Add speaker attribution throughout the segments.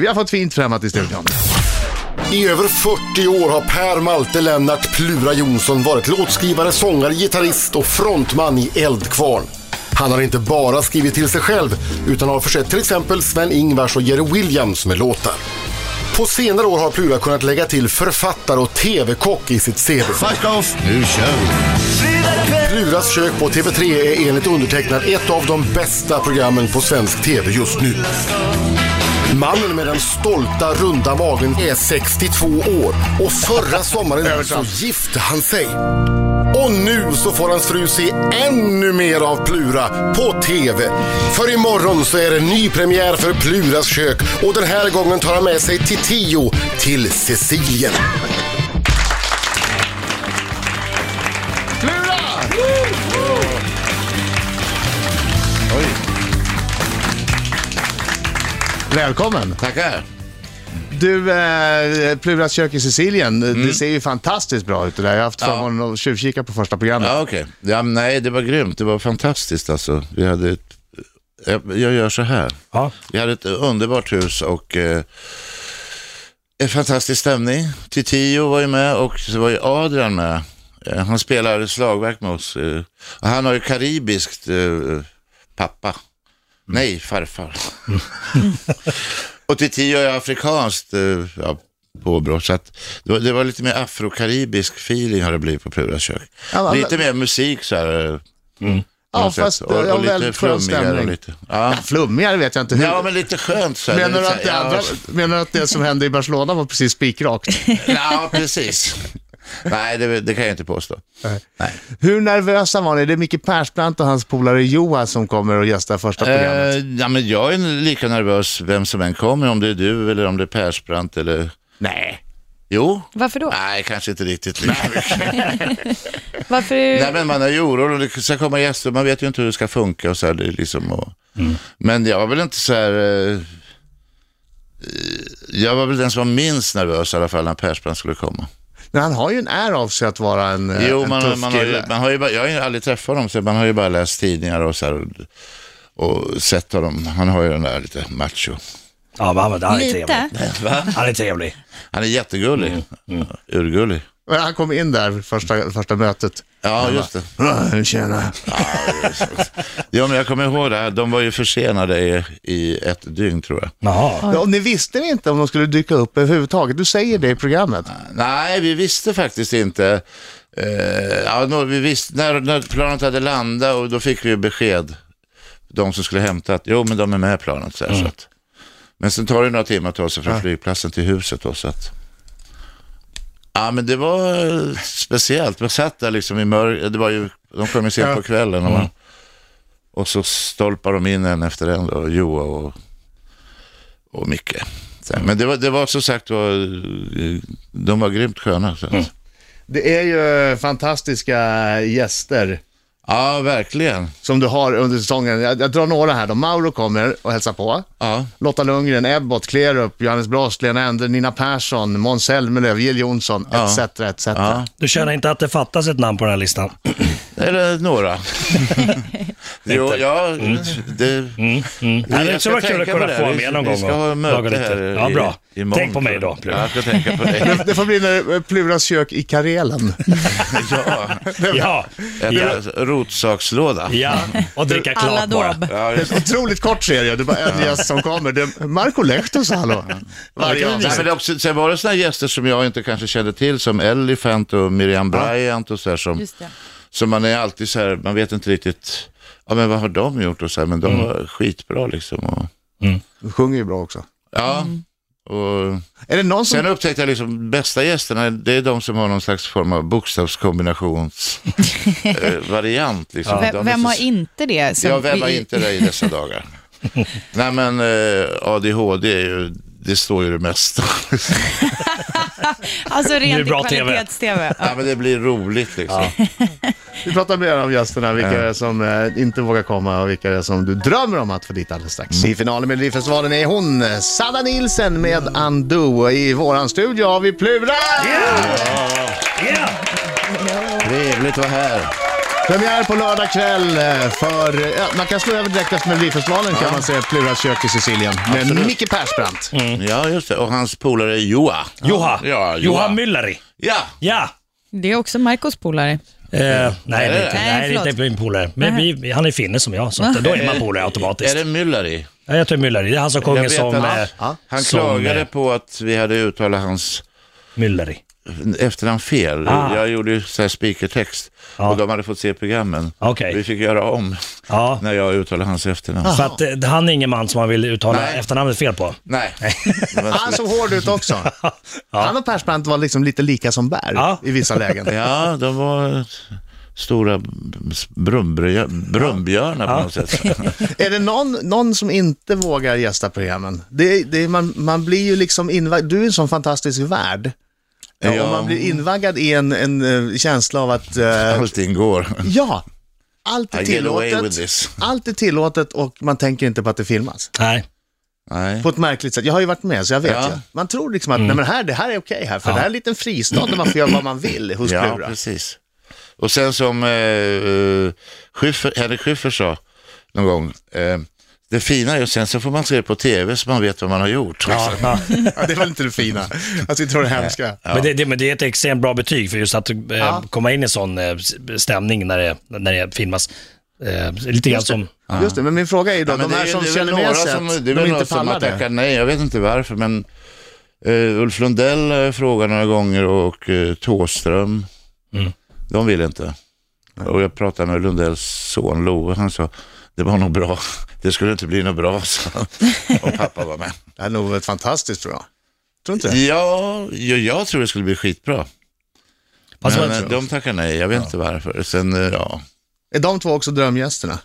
Speaker 1: Vi har fått fint främmat i studion.
Speaker 2: I över 40 år har Per Malte Lennart Plura Jonsson varit låtskrivare, sångare, gitarrist och frontman i Eldkvarn. Han har inte bara skrivit till sig själv utan har försett till exempel Sven-Ingvars och Jerry Williams med låtar. På senare år har Plura kunnat lägga till författare och TV-kock i sitt CV.
Speaker 1: Fuck off, nu kör vi.
Speaker 2: Pluras kök på TV3 är enligt undertecknad ett av de bästa programmen på svensk TV just nu. Mannen med den stolta runda magen är 62 år och förra sommaren så gifte han sig. Och nu så får hans fru se ännu mer av Plura på TV. För imorgon så är det nypremiär för Pluras kök och den här gången tar han med sig Titiyo till Sicilien.
Speaker 1: Välkommen.
Speaker 3: Tackar.
Speaker 1: Du, eh, Pluras kök i Sicilien,
Speaker 3: Mm.
Speaker 1: det ser ju fantastiskt bra ut det där. Jag har haft förmånen att tjuvkika på första programmet.
Speaker 3: Ja, okej. Ja, men nej, det var grymt. Det var fantastiskt alltså. Vi hade ett... Jag, jag gör så här.
Speaker 4: Ja.
Speaker 3: Vi hade ett underbart hus och eh, en fantastisk stämning. Titio var ju med och så var ju Adrian med. Eh, han spelar slagverk med oss. Eh, och han har ju karibiskt eh, pappa. Nej, farfar. och Titio är afrikanskt eh, ja, påbrå. Så att det, var, det var lite mer afrokaribisk feeling har det blivit på Pluras kök.
Speaker 1: Ja, men-
Speaker 3: lite mer musik så här. eh, på
Speaker 1: Ja,
Speaker 3: något sätt.
Speaker 1: fast,
Speaker 3: och,
Speaker 1: ja,
Speaker 3: och lite
Speaker 1: väldigt skön
Speaker 3: flummigare.
Speaker 1: stämning.
Speaker 3: Och lite, ja.
Speaker 1: Flummigare vet jag inte hur.
Speaker 3: ja, men lite skönt så här.
Speaker 1: Menar du,
Speaker 3: Lite så
Speaker 1: att det
Speaker 3: här, ja,
Speaker 1: andra, menar du att det som hände i Barcelona var precis spikrakt?
Speaker 3: Ja, precis. Nej, det, det kan jag inte påstå.
Speaker 1: Hur nervösa var ni? Det är Micke Persbrandt och hans polare Joa som kommer och gästar första programmet.
Speaker 3: Eh, ja, men jag är lika nervös vem som än kommer, om det är du eller om det är Persbrandt eller...
Speaker 1: Nej.
Speaker 3: Jo?
Speaker 5: Varför då?
Speaker 3: Nej, kanske inte riktigt lika mycket.
Speaker 5: Varför
Speaker 3: Nej, men man är ju orolig och det ska komma gäster, man vet ju inte hur det ska funka och så här, det är liksom och... Men jag var väl inte så här... Eh... Jag var väl den som var minst nervös i alla fall när Persbrandt skulle komma.
Speaker 1: Men han har ju en är av sig att vara en, eh,
Speaker 3: Jo,
Speaker 1: en
Speaker 3: man,
Speaker 1: tuff
Speaker 3: man, har ju,
Speaker 1: kille.
Speaker 3: man har ju, bara- jag har ju aldrig träffat honom, så man har ju bara läst tidningar och så här, och, och sett honom. Han har ju den där lite macho.
Speaker 4: Ja, men han, var- han är
Speaker 5: Lite.
Speaker 4: trevlig. Han är trevlig.
Speaker 3: Han är jättegullig. Mm, Urgullig.
Speaker 1: Men han kom in där första, första mötet.
Speaker 3: Ja, just det.
Speaker 1: Ah, Tjena.
Speaker 3: Ja, men jag kommer ihåg det här. De var ju försenade i, i ett dygn, tror jag.
Speaker 4: Jaha.
Speaker 1: Ja, och ni visste inte om de skulle dyka upp överhuvudtaget. Du säger det i programmet.
Speaker 3: Nej, vi visste faktiskt inte. Eh, ja, nå- vi visste, när, när planet hade landat och då fick vi ju besked. De som skulle hämta att, jo men de är med planet. Så här, så att. Men sen tar det några timmar att ta sig från flygplatsen till huset. Då, så att. Ja, men det var eh, speciellt. Man satt där liksom i mörker. Det var ju, de kom ju sent på kvällen. Och, man, och så stolpar de in en efter en, då, Joa och, och Micke. Så här, Men det var, det var som sagt var, eh, de var grymt sköna. Så. att.
Speaker 1: Det är ju eh, fantastiska gäster
Speaker 3: Ja, verkligen.
Speaker 1: som du har under säsongen. Jag, jag drar några här då. Mauro kommer och hälsar på.
Speaker 3: Ja.
Speaker 1: Lotta Lundgren, Ebbot, Klerup, Johannes Brost, Lena Ender, Nina Persson, Måns Zelmerlöw, Jill Johnson, etc. etc.
Speaker 4: Du känner inte att det fattas ett namn på den här listan?
Speaker 3: Eller några. jo, ja,
Speaker 4: Mm.
Speaker 3: det...
Speaker 4: Nej, det skulle vara kul att kunna få med någon gång.
Speaker 3: Vi ska ha
Speaker 4: och laga
Speaker 3: möte
Speaker 4: lite.
Speaker 3: här
Speaker 4: Ja, bra.
Speaker 3: i, imorgon.
Speaker 4: Tänk på mig då,
Speaker 3: Ja,
Speaker 4: Plura.
Speaker 3: jag ska tänka på dig.
Speaker 1: Det får bli när eh, Pluras kök i Karelen.
Speaker 3: ja,
Speaker 4: Ja.
Speaker 3: ett
Speaker 4: Ja.
Speaker 3: rotsakslåda.
Speaker 4: ja. Och dricka klart bara.
Speaker 5: Aladorb.
Speaker 3: Ja,
Speaker 1: Det
Speaker 3: just-
Speaker 1: är en otroligt kort serie. Det är bara en gäst som kommer. Det är Marco Lehtos, hallå. Varje
Speaker 3: Nej, men
Speaker 1: avsnitt.
Speaker 3: det är också, sen var det sådana gäster som jag inte kanske kände till, som Elephant och Miriam Bryant och så här, som,
Speaker 5: Just det.
Speaker 3: som man är alltid så här, man vet inte riktigt, ja men vad har de gjort och så här, men de
Speaker 4: Mm.
Speaker 3: var skitbra liksom. Och,
Speaker 1: De sjunger ju bra också.
Speaker 3: ja,
Speaker 5: Mm.
Speaker 3: och
Speaker 1: Är det någon som...
Speaker 3: Sen upptäckte jag liksom bästa gästerna, det är de som har någon slags form av bokstavskombinationsvariant. eh, variant, liksom. De är
Speaker 5: Vem, vem
Speaker 3: så-
Speaker 5: har inte det? som
Speaker 3: Ja, vem har
Speaker 5: vi-
Speaker 3: inte det i dessa dagar? Nej men eh, ADHD är ju, det står ju det mesta.
Speaker 5: Alltså
Speaker 4: är
Speaker 5: rent i
Speaker 4: bra TV.
Speaker 5: kvalitets-tv.
Speaker 3: ja, men det blir roligt liksom.
Speaker 1: Vi pratar mer om gästerna, vilka det är som eh, inte vågar komma och vilka det är som du drömmer om att få dit alldeles strax. Mm. I finalen med Melodifestivalen är hon, eh, Sanna Nielsen med Undo. Och I våran studio har vi Plura!
Speaker 4: Ja!
Speaker 3: Trevligt att vara här.
Speaker 1: Premiär på lördag kväll eh, för... eh, Ja, man kan slå över direkt efter Melodifestivalen kan man se Pluras kök i Sicilien med Micke Persbrandt.
Speaker 3: Mm. Ja, just det. Och hans polare Joa.
Speaker 4: Joha.
Speaker 3: Ja, Joha.
Speaker 4: Johan Mülleri.
Speaker 3: Ja.
Speaker 4: Ja.
Speaker 5: Det är också Marcos polare.
Speaker 4: Eh,
Speaker 3: Mm.
Speaker 4: nej, det är
Speaker 5: Nej,
Speaker 4: inte, nej, det är inte
Speaker 5: förlåt.
Speaker 4: min polare. Men vi, vi- han är finne som jag, så att, då är man polare automatiskt.
Speaker 3: Är det Müller i?
Speaker 4: Ja, jag tror Mülleri. Det är han som sjunger
Speaker 3: Jag vet
Speaker 4: som
Speaker 3: att-
Speaker 4: eh,
Speaker 1: ja,
Speaker 3: Han
Speaker 4: som,
Speaker 3: klagade
Speaker 4: eh,
Speaker 3: på att vi hade uttalat hans
Speaker 4: Mülleri.
Speaker 3: efternamn fel.
Speaker 4: Ah.
Speaker 3: Jag gjorde ju så här speakertext
Speaker 4: Ja.
Speaker 3: och de hade fått se programmen.
Speaker 4: Okej.
Speaker 3: Vi fick göra om
Speaker 4: Ja.
Speaker 3: när jag uttalade hans efternamn.
Speaker 4: För att eh, han är ingen man som man vill uttala
Speaker 3: Ah. Nej.
Speaker 4: efternamnet fel på.
Speaker 3: Nej.
Speaker 1: Han såg hård ut också. Han och Persbrandt var liksom lite lika som bär
Speaker 4: Ja.
Speaker 1: i vissa lägen.
Speaker 3: Ja, de var stora brumbjör- brumbjörnar på något sätt.
Speaker 1: Är det någon, någon som inte vågar gästa programmen? Det, det, man, man blir ju liksom invaggad. Du är en sån fantastisk värd. Ja,
Speaker 3: Ja.
Speaker 1: Och man blir invaggad i en, en eh, känsla av att... eh,
Speaker 3: Allting går.
Speaker 1: ja, allt är
Speaker 3: Alltså. I get away with
Speaker 1: tillåtet.
Speaker 3: this.
Speaker 1: Allt är tillåtet och man tänker inte på att det filmas.
Speaker 4: Nej.
Speaker 3: Nej.
Speaker 1: På ett märkligt sätt. Jag har ju varit med, så jag vet
Speaker 3: Ja.
Speaker 1: ju. Man tror liksom att nej, men här, det här är okej här, för det här är en liten fristad där man får göra vad man vill hos
Speaker 3: Ja,
Speaker 1: Plura.
Speaker 3: precis. Och sen som eh, eh, Schyffert, Henrik Schyffert sa någon gång, eh, det fina är ju sen så får man se det på tv så man vet vad man har gjort.
Speaker 4: Ja, ja.
Speaker 1: Ja, det var inte det fina. Alltså, jag tror det hemska.
Speaker 4: Men, det, det, men det är ett extremt bra betyg för just att eh, komma in i sån eh, s- stämning när det, när det filmas. Eh, lite grann som...
Speaker 1: Just det, men min fråga är ju då,
Speaker 3: Ja, men
Speaker 1: de
Speaker 3: det är
Speaker 1: här
Speaker 3: ju-
Speaker 1: som
Speaker 3: det är väl
Speaker 1: känner
Speaker 3: några
Speaker 1: med sig
Speaker 3: som-
Speaker 1: att
Speaker 3: Det
Speaker 1: de
Speaker 3: är väl
Speaker 1: inte
Speaker 3: några som har
Speaker 1: pallar det.
Speaker 3: tackat nej, jag vet inte varför, men eh, Ulf Lundell eh, frågade några gånger och eh, Thåström,
Speaker 1: Mm.
Speaker 3: de ville inte. Och jag pratade med Lundells son Love, han sa, det var nog bra, det skulle inte bli något bra, sa han. Och pappa var med.
Speaker 1: Det hade nog varit fantastiskt bra. Tror inte det?
Speaker 3: Ja, jag, jag tror det skulle bli skitbra.
Speaker 4: Fast
Speaker 3: men
Speaker 4: man-
Speaker 3: eh, de tackar nej, jag vet inte varför. Sen, eh, ja.
Speaker 1: Är de två också drömgästerna?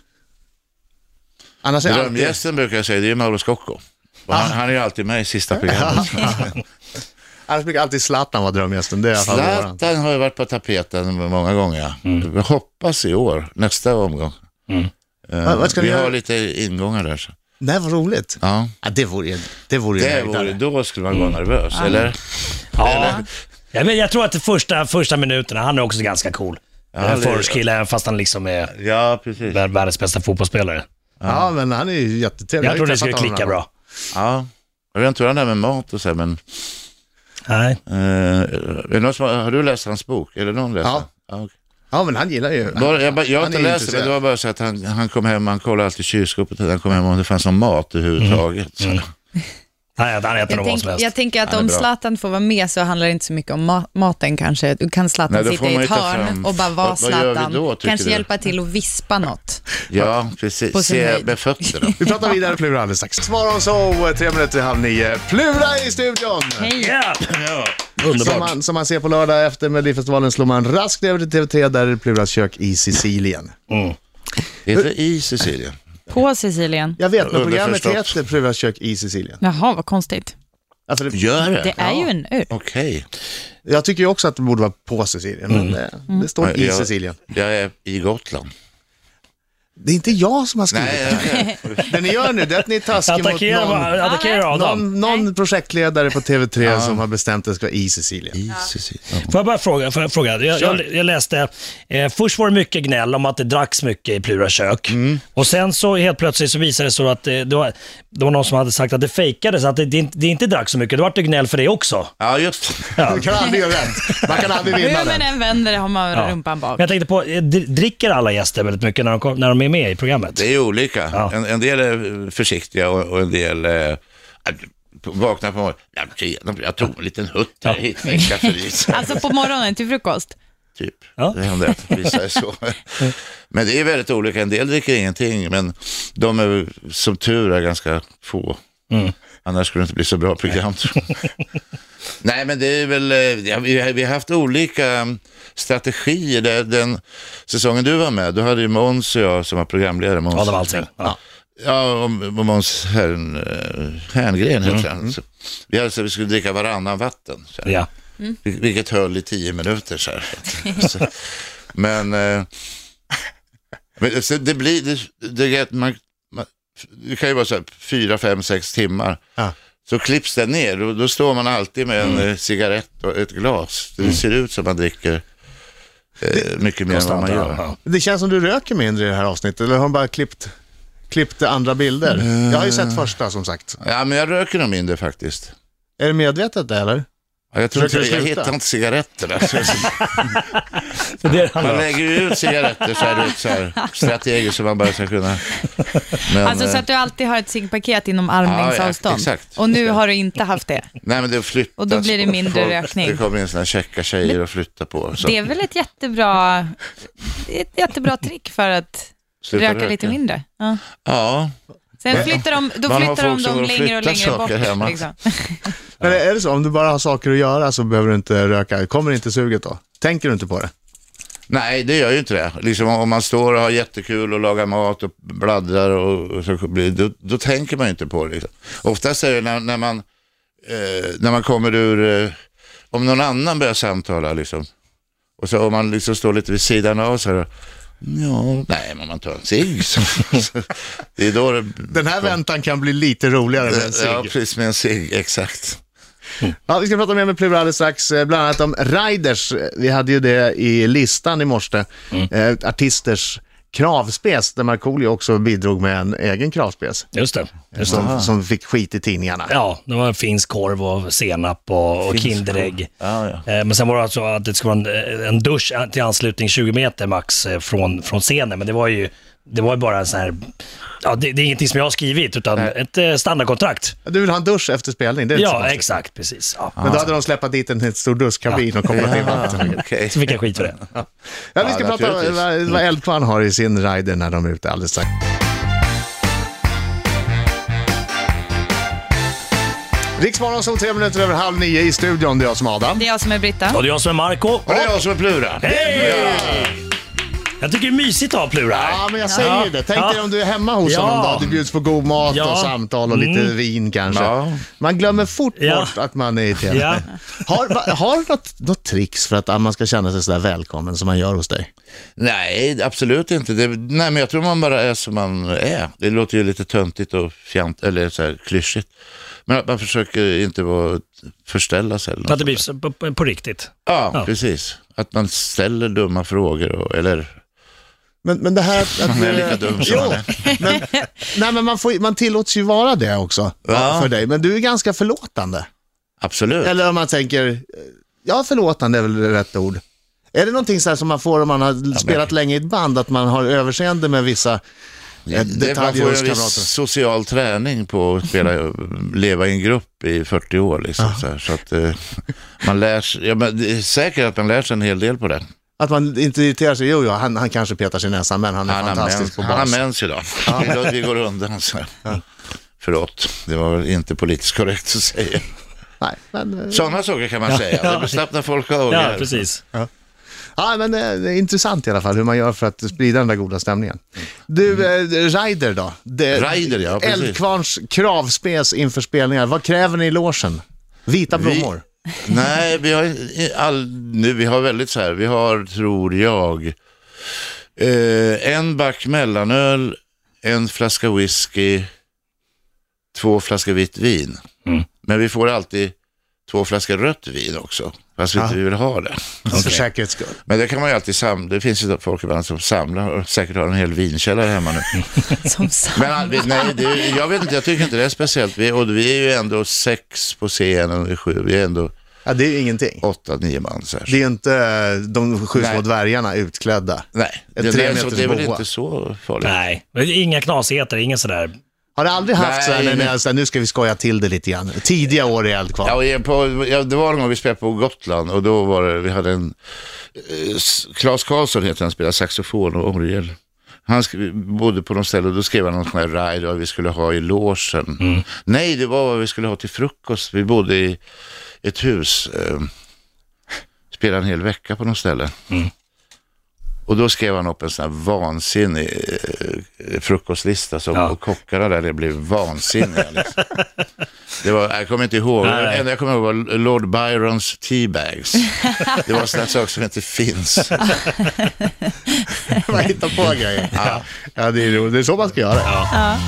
Speaker 1: Annars är alltid...
Speaker 3: Drömgästen brukar jag säga, det är Mauro Scocco. Och
Speaker 1: Ah.
Speaker 3: Han, han är ju alltid med i sista programmet.
Speaker 1: Annars brukar alltid Zlatan vara drömgästen. Det är i alla fall våran.
Speaker 3: Zlatan har ju varit på tapeten många gånger.
Speaker 1: Mm.
Speaker 3: Jag hoppas i år, nästa omgång. Eh,
Speaker 1: Vad- vad ska ni
Speaker 3: vi
Speaker 1: göra?
Speaker 3: har lite ingångar där. Så.
Speaker 1: Nej, vad roligt.
Speaker 3: Ja.
Speaker 1: Ja, det vore ju det vore ju
Speaker 3: Det
Speaker 1: en
Speaker 3: vore,
Speaker 1: höjdare.
Speaker 3: då skulle man vara
Speaker 1: Mm.
Speaker 3: nervös, eller?
Speaker 4: Ja. ja, men jag tror att de första, första minuterna, han är också ganska cool.
Speaker 3: det
Speaker 4: Ja,
Speaker 3: är-
Speaker 4: Forwards-kille, även fast han liksom är
Speaker 3: Ja, precis.
Speaker 4: vär- världens bästa fotbollsspelare.
Speaker 1: Ja, men han är ju jättetrevlig. har
Speaker 4: Jag
Speaker 1: ju
Speaker 4: tror det
Speaker 1: träffat
Speaker 4: skulle
Speaker 1: honom
Speaker 4: klicka
Speaker 1: några
Speaker 4: bra.
Speaker 3: Ja. Jag vet inte hur han är med mat och så, här, men
Speaker 4: Nej.
Speaker 3: eh, är det någon som, har har du läst hans bok? Eller någon läst
Speaker 1: Ja.
Speaker 3: den? Ja, okej.
Speaker 1: gånger. Ja, men han gillar ju...
Speaker 3: Bara, jag, bara- jag har
Speaker 1: Han är
Speaker 3: inte läst det, men
Speaker 1: intresserad.
Speaker 3: det var bara så att han, han kom hem, han kollade alltid kylskåpet, han kom hem om det fanns någon mat överhuvudtaget.
Speaker 1: Mm.
Speaker 3: Så.
Speaker 4: Nej, han äter
Speaker 5: Jag,
Speaker 4: nog vad
Speaker 5: tänk,
Speaker 4: som helst.
Speaker 5: jag tänker att
Speaker 3: Ja, det är
Speaker 5: om
Speaker 3: bra.
Speaker 5: Zlatan får vara med så handlar det inte så mycket om ma- maten kanske. Du kan Zlatan
Speaker 3: Nej, då får
Speaker 5: sitta i
Speaker 3: man
Speaker 5: ett
Speaker 3: ju ta
Speaker 5: hörn
Speaker 3: fram-
Speaker 5: och bara vara
Speaker 3: Vad- vad gör vi
Speaker 5: Zlatan.
Speaker 3: då, tycker
Speaker 5: kanske
Speaker 3: du?
Speaker 5: hjälpa till att vispa något.
Speaker 3: Ja, precis.
Speaker 5: På sin
Speaker 3: Se
Speaker 5: höjd.
Speaker 3: med fötterna.
Speaker 1: Vi pratar vidare Plura alldeles strax. Svar och så, tre minuter i halv nio. Plura i studion!
Speaker 5: Hej!
Speaker 4: Ja!
Speaker 1: Som
Speaker 4: Underbart.
Speaker 1: man, som man ser på lördag efter Melodifestivalen slår man raskt över till TV3, där är Pluras kök i Sicilien.
Speaker 3: Inte i Sicilien.
Speaker 5: På Sicilien.
Speaker 1: Jag vet, men programmet
Speaker 3: Underförstått.
Speaker 1: heter Pluras kök i Sicilien.
Speaker 5: Jaha, vad konstigt.
Speaker 1: Alltså, det,
Speaker 3: Gör det?
Speaker 5: Det är ju en ö.
Speaker 3: Okej.
Speaker 1: jag tycker ju också att det borde vara på Sicilien, men det, det står i
Speaker 3: Mm. Jag-
Speaker 1: Sicilien.
Speaker 3: Jag är i Gotland.
Speaker 1: Det är inte jag som har skrivit
Speaker 3: Nej,
Speaker 1: det.
Speaker 3: jag-
Speaker 1: Det ni gör nu, det är att ni är taskiga mot
Speaker 4: Attackera,
Speaker 1: någon,
Speaker 4: va- attackera Adam.
Speaker 1: någon, någon projektledare på TV3 som har bestämt att det ska vara i Sicilien.
Speaker 3: i Sicilien.
Speaker 4: Får jag bara fråga? Får jag, fråga? Jag, jag, jag läste, eh, först var det mycket gnäll om att det dracks mycket i Plura kök.
Speaker 3: Mm.
Speaker 4: Och sen så helt plötsligt så visade det sig att eh, det, var, det var någon som hade sagt att det fejkades, att det, det, inte- det inte dracks så mycket. Då vart det gnäll för det också.
Speaker 3: Ja, just
Speaker 1: Du kan aldrig göra rätt. Man kan aldrig vinna
Speaker 5: Hur man
Speaker 1: den.
Speaker 5: än vänder har man
Speaker 4: Ja.
Speaker 5: rumpan bak.
Speaker 4: Men jag tänkte på, eh, dr- dricker alla gäster väldigt mycket när de, kom- när de är med i programmet?
Speaker 3: Det är ju olika.
Speaker 4: Ja.
Speaker 3: En, en del är försiktiga och, och en del eh, vaknar på morgonen. Ja, tjena, Jag tog en liten hutt här
Speaker 4: Ja.
Speaker 3: hit med en kafferis.
Speaker 5: Alltså på morgonen till frukost.
Speaker 3: typ.
Speaker 4: Ja.
Speaker 3: Det hände att vissa är så. Men det är väldigt olika. En del dricker ingenting, men de är som tur är ganska få. Annars skulle det inte bli så bra program. tror jag. Nej, men det är väl, eh, ja, vi, har- vi har haft olika mm, strategier. Där Den säsongen du var med, då hade ju Måns och jag som var programledare. Måns,
Speaker 4: Adam Alsing. Ja.
Speaker 3: Ja, och och Måns Hern, eh, Herngren heter han. Så Vi hade så att vi skulle dricka varannan vatten. Så här.
Speaker 4: Ja.
Speaker 3: Vil- Vilket höll i tio minuter så här. så, men eh, men så det blir, det, det, är att man, man, det kan ju vara så här fyra, fem, sex timmar.
Speaker 1: Ja. Mm.
Speaker 3: Så klipps det ner, då, då står man alltid med en eh, cigarett och ett glas. Det ser ut som man dricker eh, mycket mer än vad man
Speaker 4: Konstant,
Speaker 3: gör.
Speaker 4: ja.
Speaker 1: Det känns som du röker mindre i det här avsnittet, eller har de bara klippt, klippt andra bilder? Jag har ju
Speaker 3: Eh.
Speaker 1: sett första som sagt.
Speaker 3: Ja, men jag röker nog mindre faktiskt.
Speaker 1: Är det medvetet det, eller?
Speaker 3: Ja, Jag, tror inte,
Speaker 1: Försöker
Speaker 3: jag
Speaker 1: sluta?
Speaker 3: hittar inte cigaretterna.
Speaker 4: Det är det det handlar
Speaker 3: Man
Speaker 4: om.
Speaker 3: lägger ju ut cigaretter så här, du vet, så här strategiskt så man bara ska kunna... Men,
Speaker 5: Alltså så
Speaker 3: eh,
Speaker 5: att du alltid har ett ciggpaket inom
Speaker 3: Ja, ja,
Speaker 5: armlängds avstånd.
Speaker 3: exakt.
Speaker 5: Och nu har du inte haft det.
Speaker 3: Nej, men det flyttas.
Speaker 5: Och då blir det mindre
Speaker 3: Folk-
Speaker 5: rökning.
Speaker 3: Det kommer in såna här käcka tjejer och flyttar på. Så
Speaker 5: Det är väl ett jättebra, det är ett jättebra trick för att
Speaker 3: sluta
Speaker 5: röka lite mindre. Ja.
Speaker 3: Ja,
Speaker 5: Sen flyttar de, då
Speaker 3: Man har
Speaker 5: flyttar
Speaker 3: folk
Speaker 5: de
Speaker 3: som går
Speaker 5: dem
Speaker 3: och
Speaker 5: längre och
Speaker 3: flyttar
Speaker 5: längre
Speaker 3: saker hemma.
Speaker 5: bort. Liksom.
Speaker 1: Men är det så, om du bara har saker att göra så behöver du inte röka? Kommer inte suget då? Tänker du inte på det?
Speaker 3: Nej, det gör ju inte det. Liksom om man står och har jättekul och lagar mat och bladdrar och, och så blir, då, då tänker man ju inte på det. Liksom. Oftast är det när, när, man, eh, när man kommer ur, eh, om någon annan börjar samtala liksom. Och så om man liksom står lite vid sidan av så här, ja, nej men man tar en cigg. så- så- det är då det...
Speaker 1: Den här väntan kan bli lite roligare med en
Speaker 3: Ja,
Speaker 1: cigg.
Speaker 3: precis med en cigg, exakt.
Speaker 1: Ja, vi ska prata mer med Plura alldeles strax, eh, bland annat om Riders. Eh, Vi hade ju det i listan i morse,
Speaker 4: Mm.
Speaker 1: eh, artisters kravspes, där Markoolio också bidrog med en egen kravspes,
Speaker 4: Just det. Just det.
Speaker 1: som, som fick skit i tidningarna.
Speaker 4: Ja, det var finsk korv och senap och, och Kinderägg.
Speaker 3: Ja, ja.
Speaker 4: Eh, Men sen var det alltså att det skulle vara en, en dusch till anslutning 20 meter max eh, från, från scenen. Men det var ju, det var ju bara en sån här, ja, det, det är ingenting som jag har skrivit utan ett eh, standardkontrakt.
Speaker 1: Du vill ha en dusch efter spelning, det är inte så
Speaker 4: Ja,
Speaker 1: konstigt.
Speaker 4: exakt, precis. Ja.
Speaker 1: Men då hade de släppt dit en helt stor duschkabin och kopplat in vatten.
Speaker 3: Okej.
Speaker 4: Så fick jag skit för det.
Speaker 1: Ja, vi ska
Speaker 3: Ja,
Speaker 1: prata om
Speaker 3: naturligtvis.
Speaker 1: vad,
Speaker 4: Mm.
Speaker 1: vad Eldkvarn har i sin rider när de är ute alldeles strax. Riksmorgon som tre minuter över halv nio i studion. Det är jag som är Adam.
Speaker 5: Det är jag som är Britta.
Speaker 4: Och det är jag som är Marco
Speaker 3: Och det är jag som är Plura.
Speaker 4: Hej! Jag tycker det är mysigt att ha Plura här.
Speaker 1: Ja, men jag säger
Speaker 4: Ja.
Speaker 1: ju det. Tänk dig
Speaker 4: Ja.
Speaker 1: om du är hemma hos
Speaker 4: Ja.
Speaker 1: honom då. Du bjuds på god mat
Speaker 4: Ja. Mm.
Speaker 1: och samtal och lite vin kanske.
Speaker 3: Ja.
Speaker 1: Man glömmer fort
Speaker 4: Ja.
Speaker 1: bort att man är i tv.
Speaker 4: Ja.
Speaker 1: Har, va, har du något, något tricks för att ah, man ska känna sig sådär välkommen som man gör hos dig?
Speaker 3: Nej, absolut inte. Det, nej, men jag tror man bara är som man är. Det låter ju lite töntigt och fjant, eller så här klyschigt. Men att man försöker inte vara, förställa sig. Eller
Speaker 4: För att det
Speaker 3: något
Speaker 4: blir
Speaker 3: sånt
Speaker 4: så- på, på, på riktigt.
Speaker 3: där. ja, precis. Att man ställer dumma frågor och, eller
Speaker 1: Men, men det här att... att
Speaker 3: man är lika dum som man är.
Speaker 1: men, nej, men man, får, man tillåts ju vara det också
Speaker 3: Ja.
Speaker 1: för dig. Men du är ganska förlåtande.
Speaker 3: Absolut.
Speaker 1: Eller om man tänker, eh, ja förlåtande är väl rätt ord. Är det någonting så här som man får om man har spelat länge i ett band, att man har överseende med vissa eh,
Speaker 3: det, man
Speaker 1: detaljer
Speaker 3: får ju
Speaker 1: hos
Speaker 3: en viss
Speaker 1: kamrater?
Speaker 3: social träning på att spela, leva i en grupp i 40 år. Liksom, så här, så att eh, man lär sig, ja, men det är säkert att man lär sig en hel del på det.
Speaker 1: Att man inte irriterar sig, jo, jo han, han kanske petar sig i näsan, men han är
Speaker 3: Han har
Speaker 1: fantastisk
Speaker 3: mens,
Speaker 1: på
Speaker 3: han har
Speaker 1: bas.
Speaker 3: mens idag. Vi- Vi går undan så här. Förlåt, det var väl inte politiskt korrekt att säga.
Speaker 1: Nej, men, eh,
Speaker 3: Sådana saker kan man säga. Det slappnar folk av.
Speaker 4: Ja, precis.
Speaker 1: ja, men eh, det är intressant i alla fall hur man gör för att sprida den där goda stämningen. Du, eh, Ryder då? Det,
Speaker 3: Mm. Ryder, ja, precis.
Speaker 1: Eldkvarns kravspes inför spelningar. Vad kräver ni i logen? Vita blommor?
Speaker 3: Nej, vi har, i- all, nu, vi har väldigt så här, vi har, tror jag, eh, en back mellanöl, en flaska whisky, två flaskor vitt vin. Men vi får alltid två flaskor rött vin också, fast vi inte vill ha det.
Speaker 1: För säkerhets skull.
Speaker 3: Men det kan man ju alltid samla. Det finns ju folk ibland som samlar och säkert har en hel vinkällare hemma nu.
Speaker 5: Som sagt.
Speaker 3: Men all- vi- nej, det, jag vet inte, jag tycker inte det är speciellt. Vi, och vi är ju ändå sex på scenen, vi är sju, vi är ändå
Speaker 1: Ja, det är ju ingenting.
Speaker 3: åtta, nio man så här.
Speaker 1: Det är ju inte eh, de sju små
Speaker 3: Nej.
Speaker 1: dvärgarna utklädda.
Speaker 3: nej, det,
Speaker 1: en
Speaker 3: det, är, så,
Speaker 1: tremeters
Speaker 3: det är väl
Speaker 1: boa.
Speaker 3: inte så farligt.
Speaker 4: Nej, men det är inga knasigheter, inga sådär.
Speaker 1: Har du aldrig haft så här,
Speaker 3: Nej,
Speaker 1: när ni
Speaker 3: nej.
Speaker 1: är så här, nu ska vi skoja till det lite grann. Tidiga år i Eldkvarn.
Speaker 3: Ja, och jag- på, ja, det var en gång vi spelade på Gotland och då var det, vi hade en, eh, S- Claes Karlsson heter han, spelade saxofon och orgel. Han sk- bodde på något ställe och då skrev han någon sån här ride vad vi skulle ha i logen. Nej, det var vad vi skulle ha till frukost. Vi bodde i ett hus, eh, spelade en hel vecka på något ställe.
Speaker 4: Mm.
Speaker 3: Och då skrev han upp en sån här vansinnig eh, frukostlista som
Speaker 4: Ja.
Speaker 3: och kockarna där det blev vansinniga. Liksom. Det var, jag kommer inte ihåg,
Speaker 4: Nej.
Speaker 3: det enda jag kommer ihåg var Lord Byrons teabags. Det var sådana saker som inte finns.
Speaker 1: Man hittar på grejer. Ja. ja, det är roligt. Det är så man ska göra.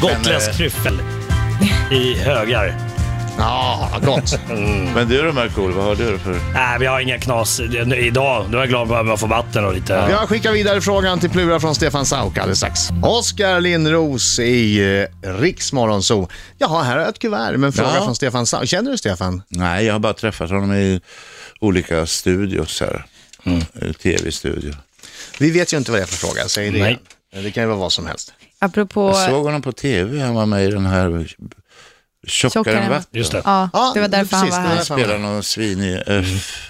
Speaker 4: Gotländsk tryffel i högar.
Speaker 1: Ja, gott.
Speaker 3: Men du då Markool, vad har du då för...
Speaker 4: Nej, vi har inga knas Det- idag. Nu är jag glad bara man får vatten och lite...
Speaker 1: Jag skickar vidare frågan till Plura från Stefan Sauk alldeles strax. Oskar Lindros i eh, Riksmorgonzoo. Jaha, här har jag ett kuvert med en fråga
Speaker 3: Ja.
Speaker 1: från Stefan Sauk. Känner du Stefan?
Speaker 3: Nej, jag har bara träffat honom i olika studios här.
Speaker 4: Mm.
Speaker 3: Eh, Tv-studio.
Speaker 1: Vi vet ju inte vad det är för fråga, säg det
Speaker 4: Nej.
Speaker 1: igen. Det kan ju vara vad som helst.
Speaker 5: Apropå...
Speaker 3: Jag såg honom på tv, han var med i den här Tjockare
Speaker 5: Tjockare
Speaker 3: än
Speaker 5: än
Speaker 3: vatten.
Speaker 4: Just det.
Speaker 5: Ja, det var därför
Speaker 1: precis, det
Speaker 5: han var
Speaker 1: var
Speaker 5: här.
Speaker 1: därför han var
Speaker 3: Spelar någon svinig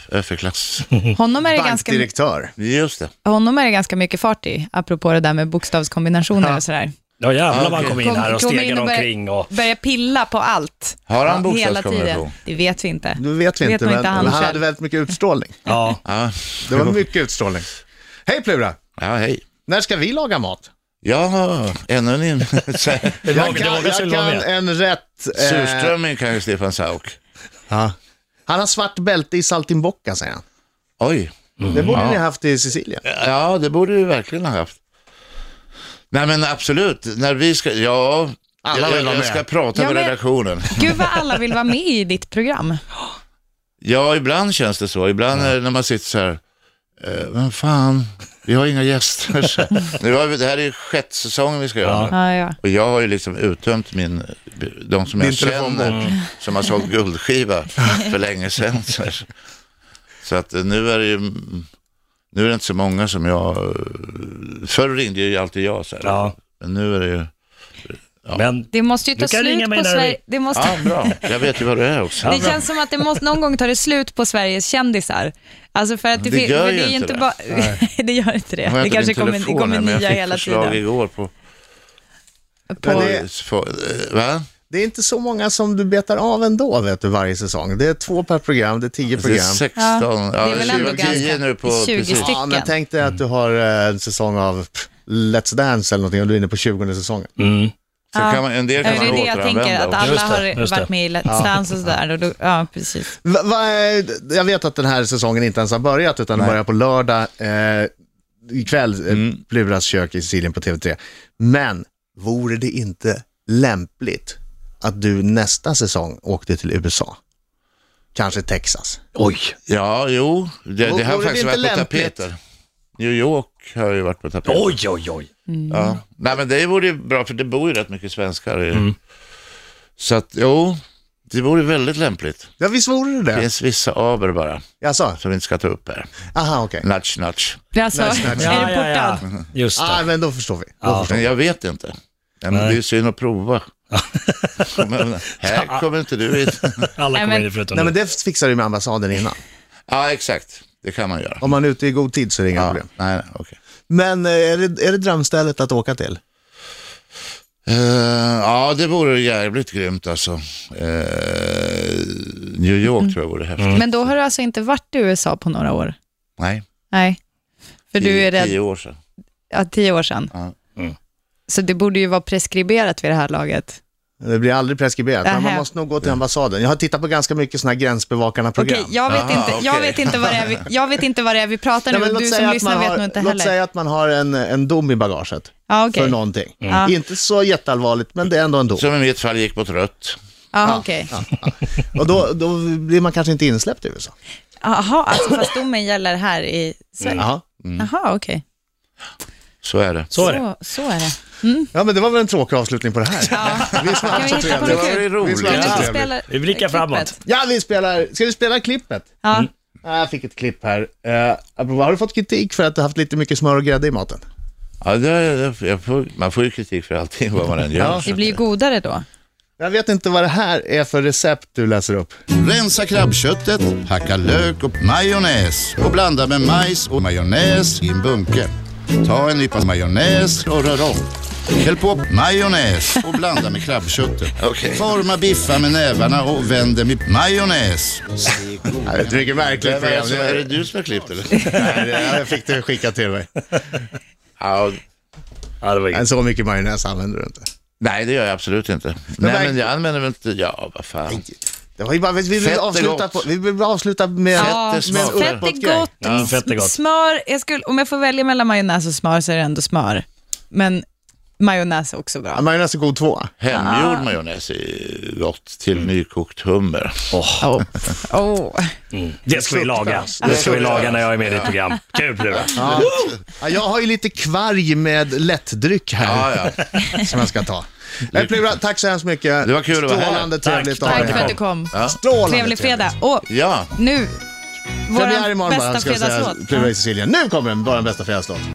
Speaker 3: överklass.
Speaker 5: Honom är, det ganska,
Speaker 1: Bankdirektör.
Speaker 3: Just det.
Speaker 5: honom är det ganska mycket fart i, apropå det där med bokstavskombinationer och sådär.
Speaker 4: Ja jävlar vad han
Speaker 3: okej.
Speaker 4: kom in här och
Speaker 5: Kom- kom in
Speaker 4: stegade
Speaker 5: och börja-
Speaker 4: omkring och...
Speaker 5: Börjar pilla på allt.
Speaker 3: Har han
Speaker 5: Hela
Speaker 3: bokstavskombination?
Speaker 5: tiden. Det vet vi inte.
Speaker 1: Nu vet vi
Speaker 5: Vet
Speaker 1: inte,
Speaker 5: man
Speaker 1: men
Speaker 5: inte han
Speaker 1: men han
Speaker 5: själv.
Speaker 1: hade väldigt mycket utstrålning.
Speaker 4: Ja.
Speaker 3: Ja.
Speaker 1: Det var mycket utstrålning. Hej Plura!
Speaker 3: ja, hej.
Speaker 1: När ska vi laga mat?
Speaker 3: Ja, ännu en in.
Speaker 4: Det var,
Speaker 1: Jag
Speaker 4: det var,
Speaker 1: kan,
Speaker 4: det
Speaker 1: jag kan
Speaker 4: var
Speaker 1: en rätt... eh,
Speaker 3: Surströmming kan ju Stefan Sauk.
Speaker 1: ja. Han har svart bälte i Saltimbocca, säger han.
Speaker 3: Oj.
Speaker 1: Det borde
Speaker 3: Ja.
Speaker 1: ni haft i Sicilien.
Speaker 3: Ja, det borde vi verkligen ha haft. Nej men absolut, när vi ska, ja,
Speaker 1: Alla
Speaker 3: jag,
Speaker 1: vill vara
Speaker 3: jag
Speaker 1: med.
Speaker 3: ska prata
Speaker 5: Ja,
Speaker 3: med
Speaker 5: men-
Speaker 3: redaktionen.
Speaker 5: Gud vad alla vill vara med i ditt program.
Speaker 3: Ja, ibland känns det så. Ibland eh, när man sitter så här, eh, men fan, vi har inga gäster. Så här. nu har vi, det här är ju sjätte säsongen vi ska göra. nu.
Speaker 5: Ja, ja.
Speaker 3: Och jag har ju liksom uttömt min, de som
Speaker 1: Din
Speaker 3: jag känner som har sålt guldskiva för länge sedan. Så, här. så att eh, nu är det ju, nu är det inte så många som jag, förr ringde ju alltid jag så här.
Speaker 4: Ja.
Speaker 3: Men nu är det ju,
Speaker 4: Men
Speaker 5: Det måste ju
Speaker 4: Du
Speaker 5: ta
Speaker 4: kan ringa
Speaker 5: slut
Speaker 4: mig
Speaker 5: på
Speaker 4: när du
Speaker 5: Sverige.
Speaker 4: vill.
Speaker 5: Det, måste...
Speaker 3: ja bra, jag vet ju vad det är också.
Speaker 5: det känns som att det måste, någon gång tar det slut på Sveriges kändisar. Alltså för att det,
Speaker 3: Det
Speaker 5: fin-
Speaker 3: gör
Speaker 5: för
Speaker 3: ju
Speaker 5: är
Speaker 3: inte det.
Speaker 5: bara- det gör inte det.
Speaker 3: Jag har
Speaker 5: Det
Speaker 3: inte
Speaker 5: kanske
Speaker 3: min
Speaker 5: kommer, det
Speaker 3: telefon
Speaker 5: kommer
Speaker 3: här, men jag
Speaker 5: nya
Speaker 3: fick
Speaker 5: hela
Speaker 3: förslag
Speaker 5: tiden.
Speaker 3: igår på...
Speaker 5: På,
Speaker 1: Men det-
Speaker 3: Få- eh, Va?
Speaker 1: Det är inte så många som du betar av ändå, vet du, varje säsong. Det är två per program, det är tio
Speaker 3: Det är
Speaker 1: program.
Speaker 3: 16,
Speaker 5: Ja,
Speaker 3: ja,
Speaker 5: det är väl ändå
Speaker 3: 20, 10
Speaker 5: ganska-
Speaker 3: nu på...
Speaker 5: 20
Speaker 3: precis.
Speaker 5: stycken.
Speaker 1: Ja, men tänk dig att du har eh, en säsong av pff, Let's Dance eller någonting och du är inne på 20 säsongen.
Speaker 3: Så kan man, en del
Speaker 5: Ja,
Speaker 3: kan
Speaker 5: det
Speaker 3: man
Speaker 5: är det jag tänker,
Speaker 3: återanvända
Speaker 5: att
Speaker 3: också.
Speaker 5: alla
Speaker 4: Just det,
Speaker 5: har
Speaker 4: just det.
Speaker 5: varit med i Let's Dance och sådär. Och då, ja, precis.
Speaker 1: Va, va, eh, jag vet att den här säsongen inte ens har börjat, utan den börjar på lördag eh, ikväll, eh, Pluras kök i Sicilien på TV3. Men vore det inte lämpligt att du nästa säsong åkte till USA? Kanske Texas?
Speaker 4: oj.
Speaker 3: Ja, jo. Det, det har
Speaker 1: Vore det
Speaker 3: faktiskt
Speaker 1: inte
Speaker 3: varit på
Speaker 1: lämpligt?
Speaker 3: tapeten. New York har ju varit på tapeten.
Speaker 4: Oj, oj, oj.
Speaker 3: Ja. Nej, men det vore ju bra, för det bor ju rätt mycket svenskar. i- Så att, jo, det vore väldigt lämpligt.
Speaker 1: Ja, visst vore det
Speaker 3: Det
Speaker 1: det?
Speaker 3: finns vissa aber bara,
Speaker 1: Jaså?
Speaker 3: som vi inte ska ta upp här.
Speaker 1: Aha, okej.
Speaker 3: Nudge, nudge.
Speaker 5: Alltså, är
Speaker 4: Ja,
Speaker 5: det
Speaker 4: ja, ja.
Speaker 5: portad?
Speaker 4: Just
Speaker 1: Ah,
Speaker 4: det.
Speaker 1: men då förstår vi. Då förstår
Speaker 3: Men jag vet inte. Nej, men det är ju synd att prova. Men här kommer inte du in.
Speaker 4: Alla
Speaker 5: Nej,
Speaker 4: kommer in
Speaker 5: men-
Speaker 4: förutom
Speaker 1: Nej men
Speaker 4: du.
Speaker 1: det fixar du med ambassaden innan.
Speaker 3: Ja, exakt. Det kan man göra.
Speaker 1: Om man är ute i god tid så är det inga
Speaker 3: Ja, nej,
Speaker 1: problem.
Speaker 3: nej, okej.
Speaker 1: Men eh, är det, är det drömstället att åka till?
Speaker 3: Eh, ja, det vore jävligt grymt alltså. Eh, New York
Speaker 5: Mm.
Speaker 3: tror jag vore
Speaker 4: Mm.
Speaker 3: häftigt.
Speaker 5: Men då har du alltså inte varit i USA på några år?
Speaker 3: Nej,
Speaker 5: Nej. För du
Speaker 3: tio,
Speaker 5: är rädd,
Speaker 3: tio år sedan.
Speaker 5: ja, tio år sedan.
Speaker 3: Ja.
Speaker 4: Mm.
Speaker 5: Så det borde ju vara preskriberat vid det här laget.
Speaker 1: Det blir aldrig preskriberat, men man
Speaker 5: Nähä.
Speaker 1: måste nog gå till ambassaden. Jag har tittat på ganska mycket sådana här gränsbevakarna-program.
Speaker 5: Okej, jag, vet
Speaker 3: Aha,
Speaker 5: inte, jag,
Speaker 3: okej.
Speaker 5: vet inte vad det är vi- jag vet inte vad det är vi pratar
Speaker 1: Nej,
Speaker 5: nu,
Speaker 1: men
Speaker 5: och
Speaker 1: låt
Speaker 5: du
Speaker 1: säga
Speaker 5: som
Speaker 1: att
Speaker 5: lyssnar
Speaker 1: man
Speaker 5: vet
Speaker 1: har-
Speaker 5: nog inte
Speaker 1: Låt
Speaker 5: heller.
Speaker 1: säga att man har en, en dom i bagaget
Speaker 5: Ja, okej. Mm.
Speaker 1: för någonting.
Speaker 5: Ja.
Speaker 1: Inte så jätteallvarligt, men det är ändå en dom.
Speaker 3: Som i mitt fall gick mot rött.
Speaker 5: Ja, okej.
Speaker 1: Och då, då blir man kanske inte insläppt i USA.
Speaker 5: Jaha, alltså fast domen gäller här i Sverige?
Speaker 1: Jaha.
Speaker 5: Jaha, okej.
Speaker 3: Så är det.
Speaker 4: Mm. Så är det.
Speaker 5: Så, så är det.
Speaker 1: Ja, men det var väl en tråkig avslutning på det här. Vi som har haft
Speaker 5: Kan
Speaker 1: så
Speaker 5: vi hitta på
Speaker 1: trevligt.
Speaker 3: Det var
Speaker 5: något
Speaker 3: ju
Speaker 5: kul?
Speaker 1: Vi
Speaker 3: roligt.
Speaker 1: som har
Speaker 5: Kan
Speaker 1: haft
Speaker 5: du
Speaker 1: så
Speaker 5: inte
Speaker 1: trevligt.
Speaker 5: spela
Speaker 4: Vi blickar
Speaker 5: klippet?
Speaker 4: framåt. Mm.
Speaker 1: Ja, vi spelar. Ska vi spela klippet?
Speaker 5: Ja.
Speaker 1: Ah, Jag fick ett klipp här. Eh, apropå, har du fått kritik för att du har haft lite mycket smör och grädde i maten?
Speaker 3: Ja, det, det- jag får, man får ju kritik för allting vad man än gör.
Speaker 1: Ja.
Speaker 5: Det blir ju godare då.
Speaker 1: Jag vet inte vad det här är för recept du läser upp.
Speaker 6: Rensa krabbköttet, hacka lök och majonnäs och blanda med majs och majonnäs i en bunke. Ta en nypa majonnäs och rör om. Häll på majonnäs och blanda med krabbköttet.
Speaker 3: Okej.
Speaker 6: Forma biffar med nävarna och vänd dem i majonnäs. Stek
Speaker 1: Ja, Det är ett mycket märkligt
Speaker 3: Vem är,
Speaker 1: program.
Speaker 3: det, som- är det
Speaker 1: Det-
Speaker 3: du som har klippt eller?
Speaker 1: Nej, det- Jag fick det skickat till mig.
Speaker 3: ja,
Speaker 4: Ja, det var
Speaker 1: Men så mycket majonnäs använder du inte.
Speaker 3: nej, det gör jag absolut inte. Nej,
Speaker 1: verk-
Speaker 3: men jag använder väl inte, ja vad fan.
Speaker 1: Det var ju bara, vi
Speaker 3: Fett
Speaker 1: vill
Speaker 3: är
Speaker 1: avsluta,
Speaker 3: gott.
Speaker 1: på, vi vill avsluta med...
Speaker 3: Ja,
Speaker 1: med en
Speaker 3: smakar.
Speaker 5: Fett
Speaker 1: uppåtgrej.
Speaker 5: är gott.
Speaker 4: Ja, fett är gott.
Speaker 5: Smör, jag skulle, om jag får välja mellan majonnäs och smör så är det ändå smör. Men majonnäs är också
Speaker 1: Ja,
Speaker 5: bra.
Speaker 1: majonnäs är god tvåa.
Speaker 3: Hemgjord majonnäs är gott till nykokt hummer.
Speaker 5: Åh. Åh.
Speaker 4: Det ska vi laga. Det ska vi laga när jag är med i ditt program. Kul Plura.
Speaker 1: Ja. Ja, jag har ju lite kvarg med lättdryck här
Speaker 3: Ja, ja.
Speaker 1: som jag ska ta. Men Plura, tack så hemskt mycket.
Speaker 3: Det var kul att vara här.
Speaker 1: Strålande trevligt
Speaker 4: Tack.
Speaker 1: att ha
Speaker 5: Tack
Speaker 1: dig
Speaker 5: för att
Speaker 1: här.
Speaker 5: du kom.
Speaker 1: Strålande
Speaker 5: Trevlig fredag.
Speaker 1: trevligt.
Speaker 5: Och
Speaker 3: ja.
Speaker 5: nu,
Speaker 1: Premiär
Speaker 5: vår
Speaker 1: imorgon bara,
Speaker 5: bästa
Speaker 1: ska jag säga.
Speaker 5: fredagslåt.
Speaker 1: Plura i Sicilien. Nu kommer den, bara den bästa fredagslåt.